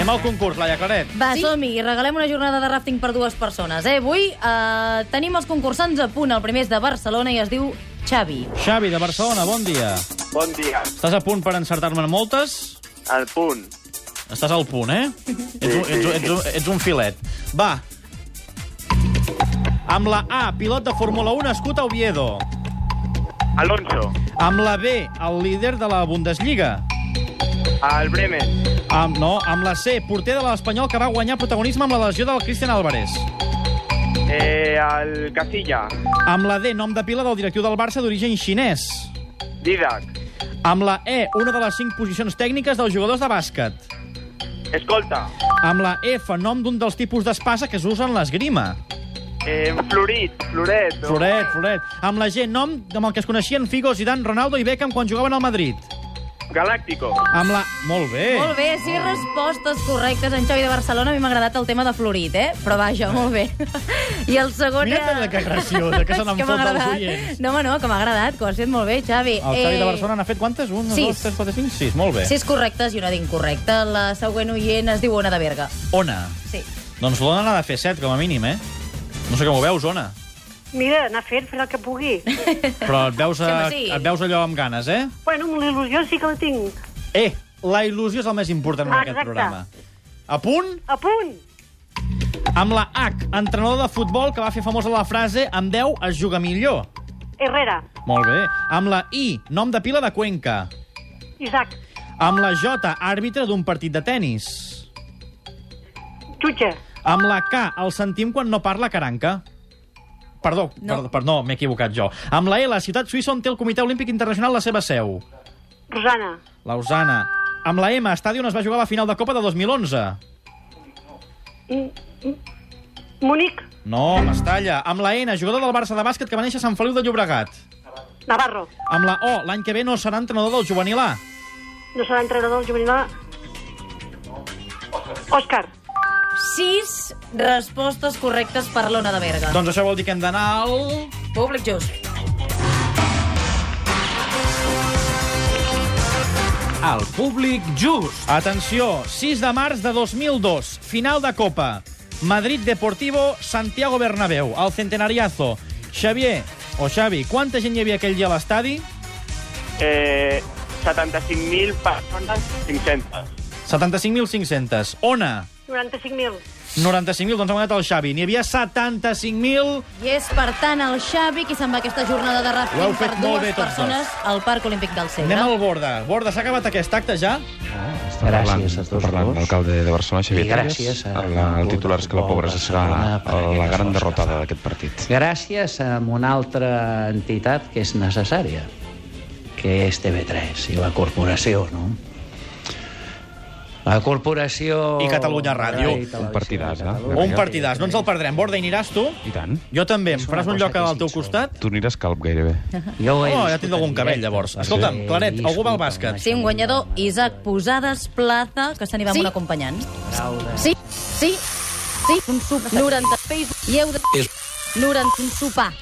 amb el concurs, Laia Claret. Va, sí? som-hi, i regalem una jornada de rafting per dues persones. Eh? Avui eh, tenim els concursants a punt. El primer és de Barcelona i es diu Xavi. Xavi, de Barcelona, bon dia. Bon dia. Estàs a punt per encertar-me'n moltes? Al punt. Estàs al punt, eh? Ets un, ets, un- ets, un, ets un filet. Va. Amb la A, pilot de Fórmula 1 nascut a Oviedo. Alonso. Amb la B, el líder de la Bundesliga. Al Bremen. Amb, no, amb la C, porter de l'Espanyol que va guanyar protagonisme amb la lesió del Cristian Álvarez. Eh, al Casilla. Amb la D, nom de pila del directiu del Barça d'origen xinès. Didac. Amb la E, una de les cinc posicions tècniques dels jugadors de bàsquet. Escolta. Amb la F, nom d'un dels tipus d'espasa que s'usa en l'esgrima. Eh, Florit. Floret. no? Floret, floret. Amb la G, nom amb el que es coneixien Figo, Zidane, Ronaldo i Beckham quan jugaven al Madrid. Galáctico. Amb la... Molt bé. Molt bé, sí, respostes correctes. En Xavi de Barcelona, a mi m'ha agradat el tema de Florit, eh? Però vaja, molt bé. I el segon... Mira era- que- que graciosa, que se n'enfota És m'ha els agradat. oients. No, home, no, que m'ha agradat, que ho has fet molt bé, Xavi. El Xavi de Barcelona n'ha fet quantes? Un, Eh, sis. dos, tres, quatre, cinc? Sis, molt bé. Sis correctes i una d'incorrecta. La següent oient es diu Ona de Berga. Ona. Sí. Doncs l'Ona n'ha de fer set, com a mínim, eh? No sé com ho veus, Ona. Mira, anar fent, fent el que pugui. Però et veus, a, Sí, home, sí. et veus allò amb ganes, eh? bueno, amb la il·lusió sí que la tinc. Eh, la il·lusió és el més important en Ah, aquest exacte. programa. A punt, A punt. amb la H, entrenador de futbol que va fer famosa la frase amb 10 es juga millor. Herrera. Molt bé. Amb la I, nom de pila de Cuenca. Isaac. Amb la J, àrbitre d'un partit de tennis. Jutge. Amb la K, el sentim quan no parla caranca. Perdó, no, No. perdó, perdó no m'he equivocat jo. Amb la L, ciutat suïssa on té el Comitè Olímpic Internacional la seva seu. Rosana. Lausana. Amb la M, estadi on es va jugar la final de Copa de 2011. Múnich. No, Mestalla. Amb la N, jugador del Barça de bàsquet que va néixer a Sant Feliu de Llobregat. Navarro. Amb la O, l'any que ve no serà entrenador del juvenil A. No serà entrenador del juvenil. Òscar. Sis respostes correctes per l'Ona de Berga. Doncs això vol dir que hem d'anar al... Públic just. El públic just. Atenció, 6 de març de 2002, final de Copa. Madrid Deportivo, Santiago Bernabéu, al centenariazo. Xavier, o Xavi, quanta gent hi havia aquell dia a l'estadi? Eh, 75.000 persones 500. 75.500. Ona, 95.000. 95.000, doncs ha guanyat el Xavi. N'hi havia 75.000. I és, per tant, el Xavi qui se'n va a aquesta jornada de Ho heu rafting per fet molt dues bé, tots persones al Parc Olímpic del Segre. Anem al Borda. Borda, s'ha acabat aquest acte ja? Està gràcies parlant, a tots parlant, dos. l'alcalde de Barcelona, Xavier I gràcies Trias, a- el, el titular és que la pobresa serà la gran derrotada d'aquest partit. Gràcies a una altra entitat que és necessària, que és TV3 i la corporació, no? La corporació... I Catalunya Ràdio. i Televisió Un partidàs, de eh? Catalunya. Un partidàs, no ens el perdrem. Borda, hi aniràs tu? I tant. Jo també. Em És una faràs un cosa lloc que al teu sí, costat? Tu aniràs calb gairebé. Jo ho he Oh, ja viscut tindrà algun en cabell, directe. llavors. Escolta'm, Sí, Claret, he algú va al viscut bàsquet? en Sí, un guanyador, Isaac Posades Plaza, que se n'hi va amb un acompanyant. Sí, sí, sí, un sopar. 90 i heu de... És... 90, un sopar.